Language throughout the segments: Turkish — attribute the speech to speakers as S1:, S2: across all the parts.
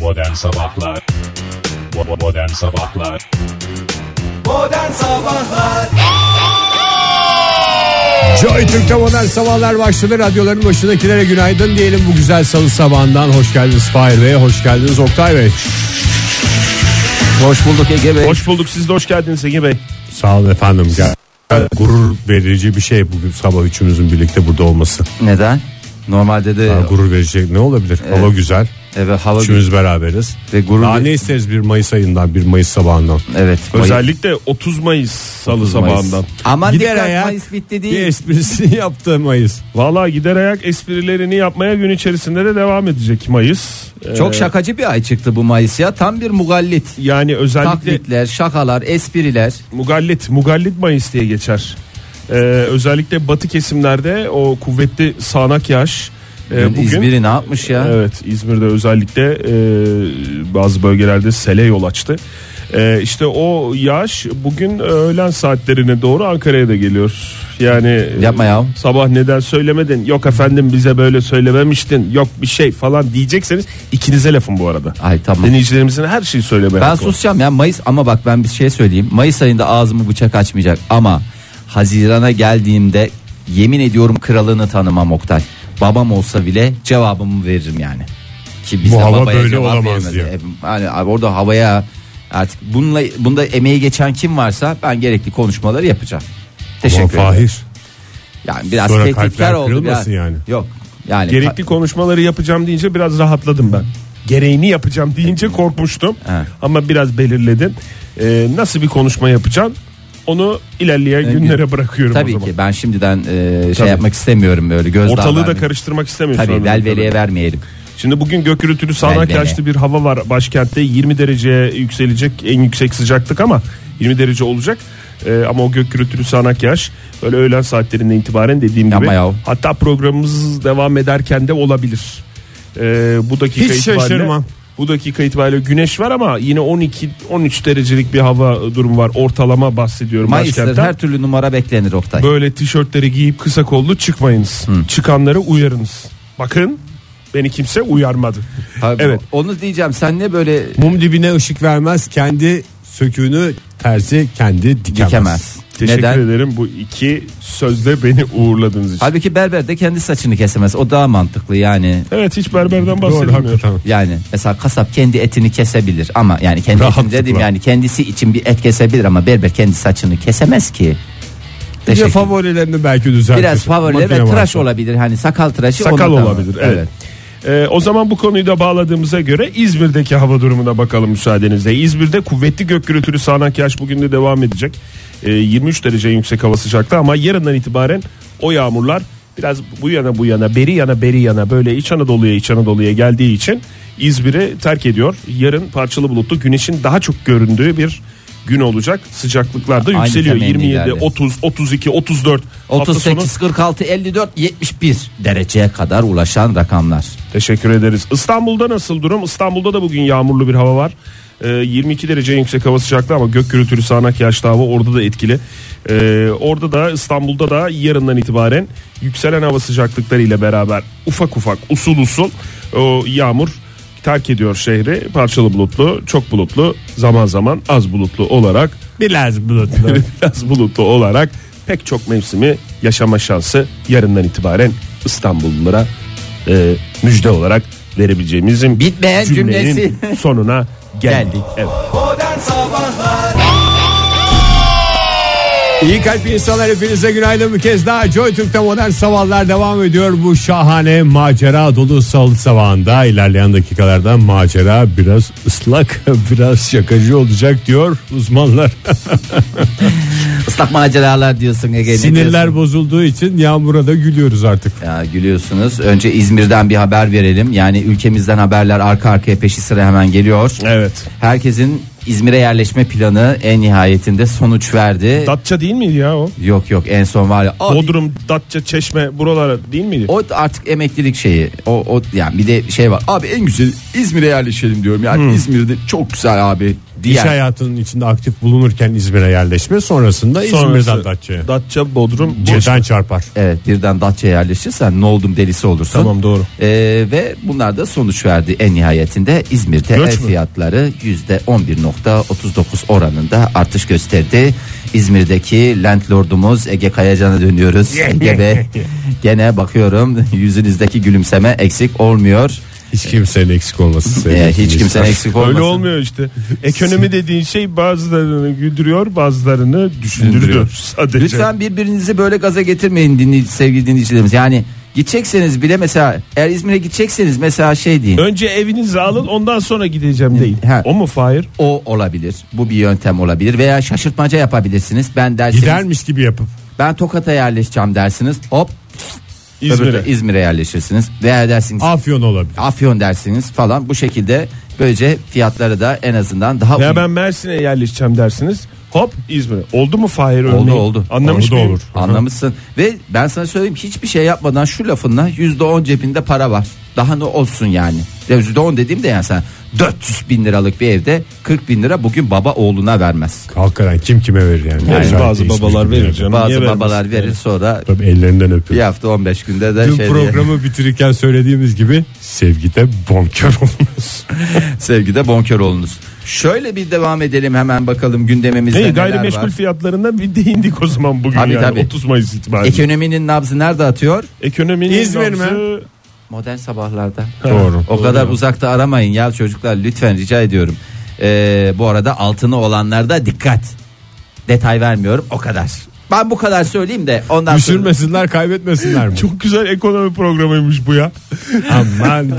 S1: Modern Sabahlar Bo- Modern Sabahlar
S2: Modern Sabahlar
S3: Joy Türk'te modern sabahlar başladı. Radyoların başındakilere günaydın diyelim bu güzel salı sabahından. Hoş geldiniz Fahir Bey, hoş geldiniz Oktay Bey.
S4: Hoş bulduk Ege Bey.
S5: Hoş bulduk siz de hoş geldiniz Ege Bey.
S3: Sağ olun efendim. Gel- Gurur verici bir şey bugün sabah üçümüzün birlikte burada olması.
S4: Neden? Normalde de
S3: Daha gurur verici ne olabilir? Hava güzel.
S4: evet hava
S3: Üçümüz beraberiz.
S4: Ve gurur
S3: Daha
S4: ver-
S3: ne isteriz bir Mayıs ayından, bir Mayıs sabahından.
S4: evet.
S5: Özellikle 30 Mayıs salı
S4: Mayıs.
S5: sabahından.
S4: Aman
S3: Gider
S4: dikkat
S3: ayak,
S4: Mayıs bitti
S3: Bir
S4: değil.
S3: esprisini yaptı Mayıs.
S5: Valla gider ayak esprilerini yapmaya gün içerisinde de devam edecek Mayıs. Ee,
S4: Çok şakacı bir ay çıktı bu Mayıs ya. Tam bir mugallit.
S5: yani özellikle
S4: Taklitler, şakalar, espriler.
S5: Mugallit, Mugallit Mayıs diye geçer. Ee, özellikle batı kesimlerde o kuvvetli sağanak yağış e, bugün Ee,
S4: İzmir'i ne yapmış ya?
S5: Evet İzmir'de özellikle e, bazı bölgelerde sele yol açtı. E, işte o yağış bugün öğlen saatlerine doğru Ankara'ya da geliyor. Yani e,
S4: Yapma ya.
S5: sabah neden söylemedin yok efendim bize böyle söylememiştin yok bir şey falan diyecekseniz ikinize lafım bu arada.
S4: Ay tamam.
S5: Dinleyicilerimizin her şeyi söylemeye
S4: Ben
S5: hakkı var.
S4: susacağım ya Mayıs ama bak ben bir şey söyleyeyim. Mayıs ayında ağzımı bıçak açmayacak ama Haziran'a geldiğimde yemin ediyorum kralını tanımam Oktay. Babam olsa bile cevabımı veririm yani. Ki biz
S3: Bu
S4: de
S3: hava
S4: babaya
S3: böyle
S4: cevap
S3: olamaz
S4: veremez.
S3: diyor.
S4: E, Yani abi orada havaya artık bununla bunda emeği geçen kim varsa ben gerekli konuşmaları yapacağım. Teşekkür
S3: Aman
S4: ederim.
S3: Fahir.
S4: Yani biraz
S3: Sonra
S4: tehditkar
S3: kalpler
S4: oldu biraz.
S3: kırılmasın yani.
S4: Yok. Yani
S5: Gerekli konuşmaları yapacağım deyince biraz rahatladım ben. Gereğini yapacağım deyince korkmuştum.
S4: Evet.
S5: Ama biraz belirledin. Ee, nasıl bir konuşma yapacaksın? Onu ilerleyen günlere bırakıyorum o
S4: Ee, tabii
S5: zaman.
S4: ki ben şimdiden e, şey
S5: Tabii.
S4: yapmak istemiyorum böyle göz
S5: Ortalığı da
S4: vermeyeyim.
S5: karıştırmak istemiyorsun.
S4: Tabii
S5: anladığım
S4: velveleye
S5: kadarıyla.
S4: vermeyelim.
S5: Şimdi bugün gök gürültülü sağanak
S4: Velvele.
S5: yağışlı bir hava var başkentte. 20 dereceye yükselecek en yüksek sıcaklık ama 20 derece olacak. Ee, ama o gök gürültülü sağanak yağış böyle öğlen saatlerinden itibaren dediğim
S4: Yapma
S5: gibi.
S4: yahu.
S5: Hatta programımız devam ederken de olabilir. Ee, bu dakika
S3: Hiç
S5: itibariyle
S3: şaşırmam.
S5: bu dakika itibariyle güneş var ama yine 12 13 derecelik bir hava durumu var. Ortalama bahsediyorum
S4: Mayıs'tır
S5: başkentten.
S4: her türlü numara beklenir Oktay.
S5: Böyle tişörtleri giyip kısa kollu çıkmayınız. Çıkanları uyarınız. Bakın beni kimse uyarmadı.
S4: Abi,
S5: evet.
S4: Onu diyeceğim sen ne böyle
S3: Mum dibine ışık vermez kendi söküğünü terzi kendi dikemez.
S4: dikemez.
S5: Teşekkür
S4: Neden?
S5: ederim bu iki sözle beni uğurladığınız için.
S4: Halbuki berber de kendi saçını kesemez. O daha mantıklı yani.
S5: Evet hiç berberden
S3: Doğru
S5: bahsedilmiyor.
S3: hakikaten.
S4: Yani mesela kasap kendi etini kesebilir ama yani kendi etini
S3: Rahatlıkla.
S4: dedim yani kendisi için bir et kesebilir ama berber kendi saçını kesemez ki.
S3: Bir de
S4: Teşekkür.
S3: favorilerini belki düzeltir.
S4: Biraz favoriler ve
S3: Makine
S4: tıraş
S3: varsa.
S4: olabilir. Hani sakal tıraşı
S5: Sakal
S4: ona da-
S5: olabilir. Evet. Ee, o zaman bu konuyu da bağladığımıza göre İzmir'deki hava durumuna bakalım müsaadenizle. İzmir'de kuvvetli gök gürültülü sağanak yağış bugün de devam edecek. Ee, 23 derece en yüksek hava sıcaklığı ama yarından itibaren o yağmurlar biraz bu yana bu yana beri yana beri yana böyle İç Anadolu'ya İç Anadolu'ya geldiği için İzmir'i terk ediyor. Yarın parçalı bulutlu güneşin daha çok göründüğü bir gün olacak. Sıcaklıklar da
S4: Aynı
S5: yükseliyor.
S4: temennilerde.
S5: 27, 30, 32, 34. hafta sonu-
S4: 38, 46, 54, 71 dereceye kadar ulaşan rakamlar.
S5: Teşekkür ederiz. İstanbul'da nasıl durum? İstanbul'da da bugün yağmurlu bir hava var. Ee, 22 derece en yüksek hava sıcaklığı ama gök gürültülü sağanak yağışlı hava orada da etkili. Ee, orada da İstanbul'da da yarından itibaren yükselen hava sıcaklıkları ile beraber ufak ufak usul usul o yağmur terk ediyor şehri. Parçalı bulutlu, çok bulutlu, zaman zaman az bulutlu olarak
S3: Biraz bulutlu.
S5: biraz bulutlu olarak pek çok mevsimi yaşama şansı yarından itibaren İstanbullulara e, müjde olarak verebileceğimizin
S4: Bitmeyen
S5: cümlenin
S4: cümlesi.
S5: sonuna geldik.
S4: Geldik.
S5: Evet.
S2: Modern Sabahlar
S3: İyi kalp insanlar hepinize günaydın bir kez daha. Joy Türk'te modern sabahlar devam ediyor. Bu şahane macera dolu salı sabahında ilerleyen dakikalarda macera biraz ıslak biraz şakacı olacak diyor uzmanlar.
S4: Islak maceralar diyorsun Ege. ne diyorsun?
S3: Sinirler bozulduğu için yağmura da gülüyoruz artık.
S4: Ya gülüyorsunuz. Önce İzmir'den bir haber verelim. Yani ülkemizden haberler arka arkaya peşi sıra hemen geliyor.
S5: evet.
S4: Herkesin İzmir'e yerleşme planı en nihayetinde sonuç verdi.
S5: Datça değil miydi ya o?
S4: yok yok en son var ya. O,
S5: Bodrum, Datça, Çeşme buralara değil miydi?
S4: o artık emeklilik şeyi. O o yani bir de şey var. Abi en güzel İzmir'e yerleşelim diyorum. Yani İzmir'de çok güzel abi
S3: İş hayatının içinde aktif bulunurken İzmir'e yerleşme sonrasında İzmir'den Datça'ya.
S5: Datça, Bodrum, Boş.
S3: Birden çarpar.
S4: Evet birden Datça'ya yerleşirsen ne oldum delisi olursun.
S5: Tamam, doğru.
S4: Ee, ve bunlar da sonuç verdi en nihayetinde İzmir'de
S5: Göç
S4: ev
S5: mü?
S4: fiyatları %11.39 oranında artış gösterdi. İzmir'deki landlordumuz Ege Kayacan'a dönüyoruz. Ege Bey gene bakıyorum yüzünüzdeki gülümseme eksik olmuyor.
S3: Hiç kimsenin eksik olması. sevgili
S4: Ee, hiç kimsenin
S3: dinleyiciler.
S4: eksik olmasın.
S5: Öyle olmuyor işte. Ekonomi dediğin şey bazılarını güldürüyor, bazılarını düşündürüyor. Sadece.
S4: Lütfen birbirinizi böyle gaza getirmeyin dinleyici, sevgili dinleyicilerimiz. Yani gidecekseniz bile mesela eğer İzmir'e gidecekseniz mesela şey deyin.
S5: Önce evinizi alın, ondan sonra gideceğim deyin.
S4: Ha.
S5: O mu Fahir?
S4: O olabilir. Bu bir yöntem olabilir veya şaşırtmaca yapabilirsiniz. Ben derseniz
S3: Gidermiş gibi yapıp.
S4: ben Tokat'a yerleşeceğim dersiniz. Hop
S5: İzmir'e.
S4: öbür- İzmir'e yerleşirsiniz. Veya dersiniz
S3: Afyon olabilir.
S4: Afyon dersiniz falan bu şekilde böylece fiyatları da en azından daha
S5: Ya
S4: uy-
S5: ben Mersin'e yerleşeceğim dersiniz. Hop İzmir'e. Oldu mu Fahir
S4: Oldu,
S5: örneğin?
S4: oldu.
S5: Anlamış
S3: Oldu,
S5: mıyım?
S3: olur.
S4: anlamışsın. Ve ben sana söyleyeyim hiçbir şey yapmadan şu lafınla %10 cebinde para var. Daha ne olsun yani. Ya %10 dediğimde yani sen 400 bin liralık bir evde 40 bin lira bugün baba oğluna vermez.
S3: Hakikaten kim kime verir yani.
S5: Yani
S3: Özellikle
S5: bazı
S3: İzmir
S5: babalar
S3: gibi bir
S5: verir
S3: yerde.
S5: canım. Niye
S4: Bazı
S5: vermez?
S4: babalar verir sonra
S3: Tabii ellerinden
S4: bir
S3: öpüyor.
S4: hafta 15 günde de
S3: Dün
S4: şey diye-
S3: programı bitirirken söylediğimiz gibi sevgide bonkör olmaz.
S4: Sevgide bonkör olunuz. Şöyle bir devam edelim hemen bakalım gündemimizde
S5: Hey,
S4: neler
S5: gayrimeşgul
S4: var.
S5: fiyatlarına bir değindik o zaman bugün
S4: Tabii,
S5: yani.
S4: tabii.
S5: 30 Mayıs itibariyle.
S4: Ekonominin nabzı nerede atıyor?
S5: Ekonominin
S3: İzmir mi?
S5: nabzı-
S4: Modern sabahlarda.
S3: Doğru.
S4: O kadar uzakta aramayın ya çocuklar lütfen rica ediyorum. Ee, bu arada altını olanlarda dikkat. Detay vermiyorum o kadar. Ben bu kadar söyleyeyim de ondan sonra
S3: Düşürmesinler kaybetmesinler mi?
S5: Çok güzel ekonomi programıymış bu ya.
S3: aman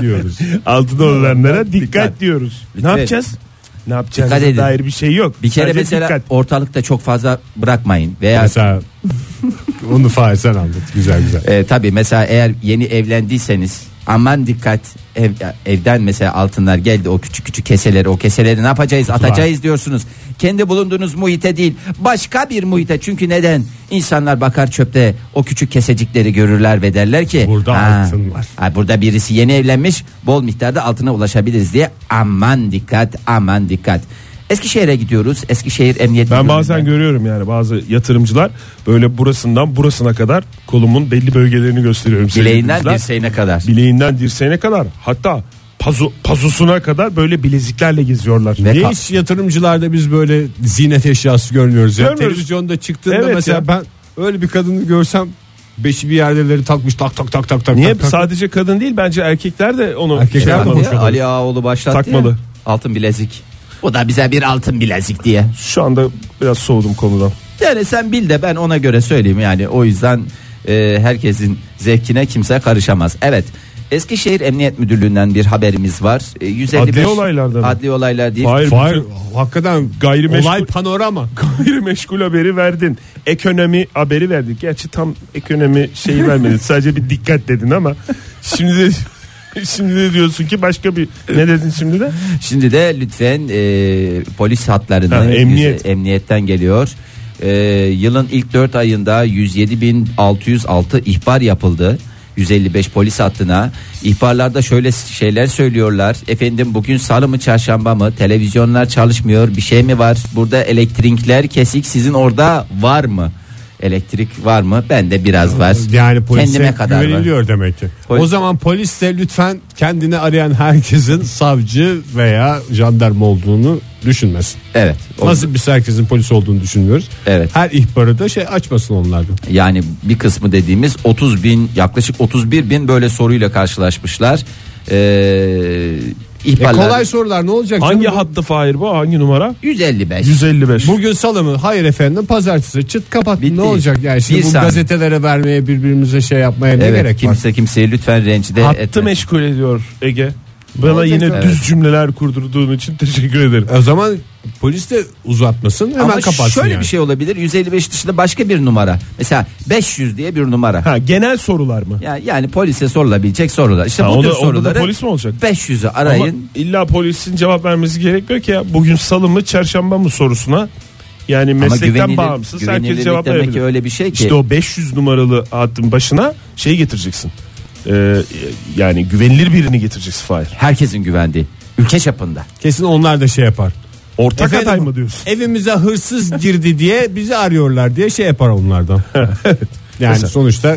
S3: diyoruz.
S5: Altında olanlara dikkat,
S4: Dikkat.
S5: diyoruz.
S4: Lütfen.
S5: Ne yapacağız? Ne yapacağız?
S4: Dikkat edin.
S5: dair bir şey yok.
S4: bir kere
S5: Sadece
S4: mesela
S5: dikkat.
S4: ortalıkta çok fazla bırakmayın veya
S3: Mesela onu Fahir sen anlat güzel güzel.
S4: E, tabii mesela eğer yeni evlendiyseniz aman dikkat ev- evden mesela altınlar geldi o küçük küçük keseleri o keseleri ne yapacağız atacağız diyorsunuz. Kendi bulunduğunuz muhite değil başka bir muhite çünkü neden insanlar bakar çöpte o küçük kesecikleri görürler ve derler ki
S3: Burada altın var.
S4: ha, burada birisi yeni evlenmiş bol miktarda altına ulaşabiliriz diye aman dikkat aman dikkat. Eskişehir'e gidiyoruz. Eskişehir Emniyet
S5: Ben
S4: Müdürlüğü'nden-
S5: bazen görüyorum yani bazı yatırımcılar böyle burasından burasına kadar kolumun belli bölgelerini gösteriyorum. sevgili
S4: bileğinden
S5: dinleyiciler.
S4: dirseğine kadar.
S5: Bileğinden dirseğine kadar hatta pazu, pazusuna kadar böyle bileziklerle geziyorlar.
S4: Ve
S3: Niye
S4: ka-
S3: hiç yatırımcılarda biz böyle zinet eşyası görmüyoruz? Ya?
S5: Görmüyoruz.
S3: Televizyonda çıktığında
S5: Evet
S3: mesela
S5: ya.
S3: ben öyle bir kadını görsem beşi bir yerdeleri takmış tak tak tak tak tak.
S5: Niye
S3: tak, tak.
S5: sadece kadın değil bence erkekler de onu
S3: Erkekler
S5: şey
S3: de
S5: yapmalı.
S3: onu-
S4: Ya, Ali Ağaoğlu başlattı
S5: Takmalı.
S4: ya, altın bilezik. O da bize bir altın bilezik diye.
S5: Şu anda biraz soğudum konudan.
S4: Yani sen bil de ben ona göre söyleyeyim yani o yüzden e, herkesin zevkine kimse karışamaz. Evet. Eskişehir Emniyet Müdürlüğü'nden bir haberimiz var. E, 155
S5: Adli olaylarda mı?
S4: Adli olaylar değil.
S5: Hayır,
S3: Fahir hakikaten
S5: Gayrimeşgul-
S3: olay panorama.
S5: Gayrimeşgul haberi verdin. Ekonomi haberi verdik. Gerçi tam ekonomi şeyi vermedin. Sadece bir dikkat dedin ama şimdi de şimdi de diyorsun ki başka bir ne dedin şimdi de?
S4: Şimdi de lütfen e, polis hatlarını
S5: Ha, emniyet.
S4: yüz- emniyetten geliyor. E, yılın ilk 4 ayında 107.606 ihbar yapıldı. 155 polis hattına ihbarlarda şöyle şeyler söylüyorlar. Efendim bugün salı mı çarşamba mı televizyonlar çalışmıyor bir şey mi var? Burada elektrikler kesik sizin orada var mı? Elektrik var mı? Bende biraz var.
S3: Yani polise
S4: Kendime kadar var.
S3: güveniliyor demek ki.
S4: Polis-
S3: O zaman polis de lütfen kendini arayan herkesin savcı veya jandarma olduğunu düşünmesin.
S4: Evet. o-
S3: Nasıl biz herkesin polis olduğunu düşünmüyoruz.
S4: Evet.
S3: Her ihbarı da şey açmasın onlardan.
S4: Yani bir kısmı dediğimiz 30 bin yaklaşık 31 bin böyle soruyla karşılaşmışlar. Ee,
S3: E
S4: ihbarlar
S3: kolay sorular ne olacak?
S5: Hangi
S3: canım?
S5: hattı Fahir bu? Hangi numara?
S4: 155.
S5: 155.
S3: Bugün salı mı? Hayır efendim pazartesi çıt kapat.
S4: Bitti.
S3: Ne olacak yani şimdi
S4: Bir
S3: bu
S4: saniye.
S3: gazetelere vermeye birbirimize şey yapmaya ne
S4: evet,
S3: gerek var?
S4: kimse kimseyi lütfen rencide
S5: Hattı
S4: etmesin.
S5: meşgul ediyor Ege. Bana
S3: olacak
S5: yine
S3: öyle?
S5: düz cümleler kurdurduğun için teşekkür ederim.
S3: O zaman polis de uzatmasın hemen
S4: Ama
S3: kapatsın
S4: şöyle
S3: yani.
S4: bir şey olabilir. 155 dışında başka bir numara. Mesela 500 diye bir numara.
S5: Ha genel sorular mı?
S4: Yani, yani polise sorulabilecek sorular. İşte
S5: Ha,
S4: bu
S5: onda-
S4: tür
S5: onda da
S4: soruları
S5: polis mi olacak?
S4: 500'ü
S5: Ama
S4: arayın.
S5: illa polisin cevap vermesi gerekmiyor ki ya. Bugün salı mı çarşamba mı sorusuna. Yani
S4: Ama,
S5: meslekten
S4: güvenilir,
S5: bağımsız herkes
S4: güvenilirlik
S5: cevap
S4: demek
S5: verebilir.
S4: ki öyle bir şey ki.
S5: İşte o 500 numaralı hattın başına şeyi getireceksin. Ee, yani güvenilir birini getireceksin Fahir.
S4: Herkesin güvendiği. Ülke çapında.
S3: Kesin onlar da şey yapar.
S5: Ortak
S3: Efendim,
S5: aday mı diyorsun?
S3: Evimize hırsız girdi diye bizi arıyorlar diye şey yapar onlardan. yani sonuçta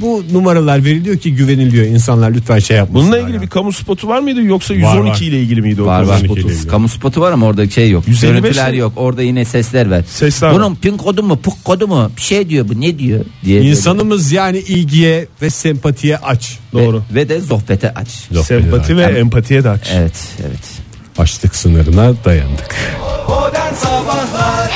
S3: bu numaralar veriliyor ki güveniliyor. İnsanlar lütfen şey yapmasınlar.
S5: Bununla ilgili bir kamu spotu var mıydı yoksa 112
S3: var.
S5: ile ilgili miydi o
S4: Var
S5: kamu
S4: var.
S5: spotu?
S3: geliyor.
S4: Kamu spotu var ama orada şey yok.
S5: 155
S4: Görüntüler
S5: mi?
S4: yok. Orada yine sesler ver.
S5: Sesler
S4: Bunun pin kodu mu puk kodu mu bir şey diyor bu ne diyor diye. böyle.
S3: İnsanımız yani ilgiye ve sempatiye aç.
S4: Ve-
S5: Doğru.
S4: Ve, de sohbete aç.
S5: Sempati ve empatiye de aç.
S4: Evet evet.
S3: Açlık sınırına dayandık.
S2: Modern Sabahlar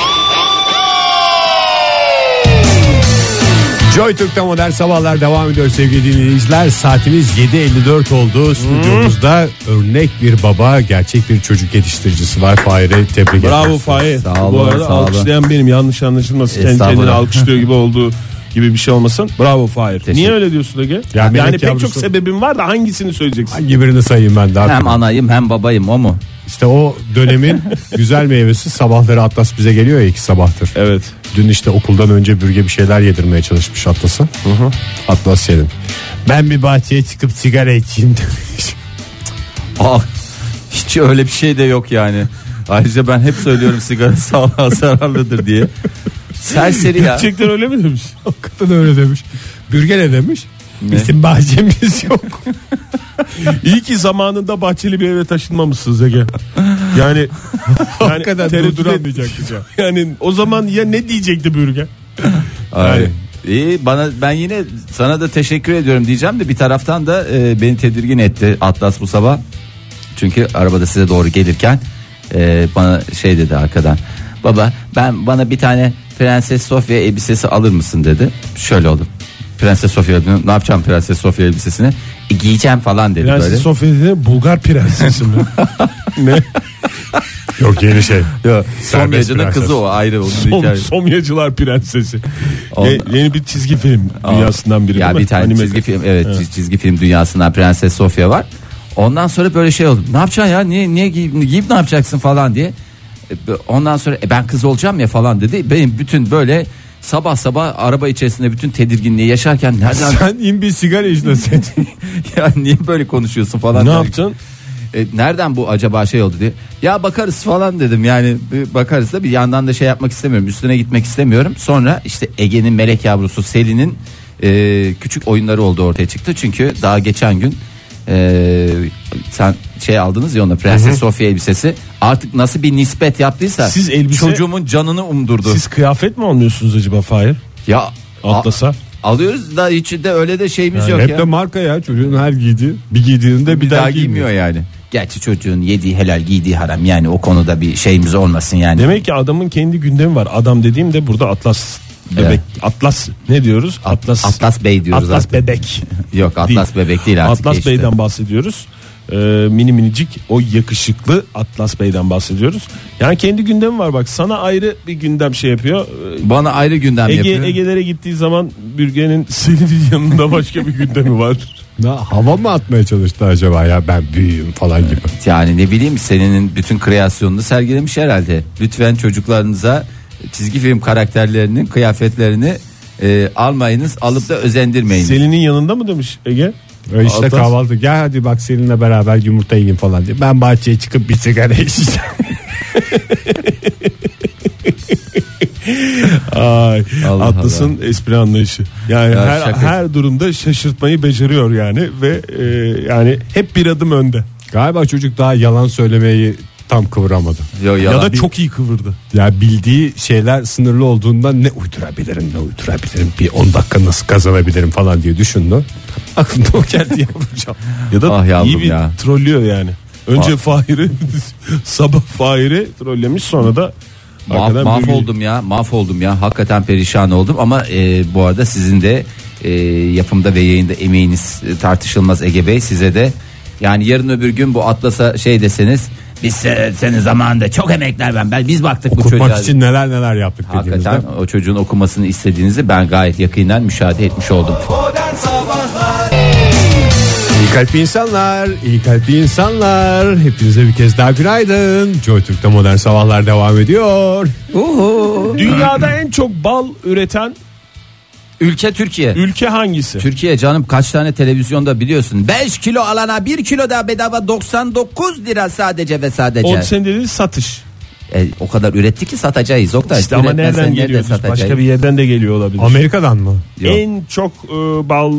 S3: Joy Türk'te modern sabahlar devam ediyor sevgili dinleyiciler. Saatimiz 7.54 oldu. Stüdyomuzda örnek bir baba, gerçek bir çocuk yetiştiricisi var. Fahir'e tebrik
S5: Bravo
S3: ederiz.
S5: Fahir.
S4: Sağ olun,
S5: Bu arada
S4: sağ olun.
S5: alkışlayan benim yanlış anlaşılmasın. Kendi
S4: Estağfurullah.
S5: kendini alkışlıyor gibi olduğu gibi bir şey olmasın. Bravo Fahir.
S4: Teşekkür-
S5: Niye öyle diyorsun Ege?
S3: Ya melek
S5: yani pek
S3: yavrusu-
S5: çok sebebin var da hangisini söyleyeceksin?
S3: Hangi birini sayayım ben daha?
S4: Hem anayım hem babayım o mu?
S3: İşte o dönemin güzel meyvesi sabahları Atlas bize geliyor ya iki sabahtır.
S5: Evet.
S3: Dün işte okuldan önce bürge bir şeyler yedirmeye çalışmış Atlas'a. Atlas yedim. Ben bir bahçeye çıkıp sigara içeyim demiş.
S4: Aa, Ah, hiç öyle bir şey de yok yani. Ayrıca ben hep söylüyorum sigara sağlığa zararlıdır diye. Serseri ya.
S5: Gerçekten öyle mi demiş?
S3: O kadın öyle demiş. Bürge ne demiş?
S4: Ne?
S3: Bizim bahçemiz yok.
S5: İyi ki zamanında bahçeli bir eve taşınmamışsınız Ege. Yani yani
S3: kadar
S5: tereddüt
S3: durduramayacaktı
S5: et- Yani o zaman ya ne diyecekti bürge?
S4: Ay. İyi bana ben yine sana da teşekkür ediyorum diyeceğim de bir taraftan da e, beni tedirgin etti Atlas bu sabah. Çünkü arabada size doğru gelirken e, bana şey dedi arkadan. Baba ben bana bir tane Prenses Sofya elbisesi alır mısın dedi. Şöyle oldu. Prenses Sofya elbisesi- ne yapacağım Prenses Sofya elbisesini? E, giyeceğim falan dedi böyle.
S5: Sofya'da Bulgar prensesi mi?
S3: yok yeni şey.
S4: Yo,
S3: Serbest
S4: Sofya'cının
S3: prenses.
S4: kızı o ayrı onun
S5: Som,
S4: hikayesi.
S5: Somyacılar prensesi.
S4: Ondan-
S5: Ye- yeni bir çizgi film
S4: Aa,
S5: dünyasından biri
S4: Ya
S5: değil mi?
S4: bir tane
S5: Anime.
S4: çizgi film evet, çiz- çizgi film dünyasından Prenses Sofya var. Ondan sonra böyle şey oldu. Ne yapacaksın ya? Niye niye giyip, giyip ne yapacaksın falan diye. E, b- Ondan sonra "E, ben kız olacağım ya falan dedi. Benim bütün böyle sabah sabah araba içerisinde bütün tedirginliği yaşarken nereden
S3: Sen in bir sigara içlesin.
S4: ya niye böyle konuşuyorsun falan.
S5: Ne
S4: derken-
S5: yaptın?
S4: E, nereden bu acaba şey oldu diye. Ya bakarız falan dedim yani bir bakarız da bir yandan da şey yapmak istemiyorum üstüne gitmek istemiyorum. Sonra işte Ege'nin melek yavrusu Selin'in e, küçük oyunları oldu ortaya çıktı. Çünkü daha geçen gün e, sen şey aldınız ya ona Prenses Sofya elbisesi artık nasıl bir nispet yaptıysa
S5: Siz elbise-
S4: çocuğumun canını umdurdu.
S5: Siz kıyafet mi almıyorsunuz acaba Fahir?
S4: Ya a-
S5: Atlasa.
S4: alıyoruz da hiç de öyle de şeyimiz yok
S3: Hep
S4: ya.
S3: de marka ya çocuğun her giydiği. Bir giydiğinde bir,
S4: bir daha giymiyor yani. Gerçi çocuğun yediği helal giydiği haram yani o konuda bir şeyimiz olmasın yani.
S5: Demek ki adamın kendi gündemi var. Adam dediğim de burada Atlas bebek. Atlas ne diyoruz? Atlas.
S4: Atlas Bey diyoruz
S5: Atlas
S4: artık.
S5: bebek.
S4: Yok Atlas Bebek değil artık.
S5: Atlas
S4: geçti.
S5: Bey'den bahsediyoruz. Ee, mini minicik o yakışıklı Atlas Bey'den bahsediyoruz. Yani kendi gündemi var bak. Sana ayrı bir gündem şey yapıyor. Ee,
S4: Bana ayrı gündem
S5: Ege
S4: yapıyor.
S5: Ege'lere gittiği zaman Bürge'nin senin yanında başka bir gündemi var.
S3: Na, hava mı atmaya çalıştı acaba ya ben büyüğüm falan gibi.
S4: Yani ne bileyim senin bütün kreasyonunu sergilemiş herhalde. Lütfen çocuklarınıza çizgi film karakterlerinin kıyafetlerini e, almayınız alıp da özendirmeyin.
S5: Selin'in yanında mı demiş Ege?
S3: Öyle işte
S5: Atlas-
S3: kahvaltı gel hadi bak seninle beraber yumurta yiyeyim falan diye. Ben bahçeye çıkıp bir sigara içeceğim.
S5: Ay,
S4: Allah
S5: Atlas'ın espri anlayışı. Yani
S4: Ya
S5: her
S4: şaka.
S5: her durumda şaşırtmayı beceriyor yani ve e, yani hep bir adım önde.
S3: Galiba çocuk daha yalan söylemeyi tam kıvıramadı.
S4: Yo, yalan.
S5: Ya da çok iyi kıvırdı.
S3: Ya bildiği şeyler sınırlı olduğundan ne uydurabilirim ne uydurabilirim bir 10 dakika nasıl kazanabilirim falan diye düşündü. Aklımda o geldi yapacağım.
S5: Ya da
S4: Ah yavrum
S5: iyi bir
S4: ya.
S5: trollüyor yani. Önce Fahir'i sabah Fahir'i trollemiş sonra da
S4: Maf,
S5: arkadan bir-
S4: mahvoldum ya mahvoldum ya hakikaten perişan oldum ama e, bu arada sizin de e, yapımda ve yayında emeğiniz e, tartışılmaz Ege Bey size de yani yarın öbür gün bu Atlas'a şey deseniz biz se- senin zamanında çok emekler ben, ben biz baktık bu çocuğa.
S3: Okutmak için neler neler yaptık dediğimizde.
S4: Hakikaten o çocuğun okumasını istediğinizi ben gayet yakından müşahede etmiş oldum.
S2: Modern Sabahlar
S3: İyi kalpli insanlar, iyi kalpli insanlar. Hepinize bir kez daha günaydın. Joy Türk'te modern sabahlar devam ediyor.
S5: Dünyada en çok bal üreten
S4: Ülke Türkiye.
S5: ülke hangisi?
S4: Türkiye canım kaç tane televizyonda biliyorsun. 5 kilo alana 1 kilo daha bedava 99 lira sadece ve sadece.
S5: O senin dediğin satış.
S4: E, o kadar üretti ki satacağız. Oktay.
S5: İşte ama
S4: Üretmezsen
S5: nereden
S4: nerede
S5: geliyor?
S4: satacağız?
S5: Başka bir yerden de geliyor olabilir.
S3: Amerika'dan mı?
S4: Yok.
S5: En çok e, bal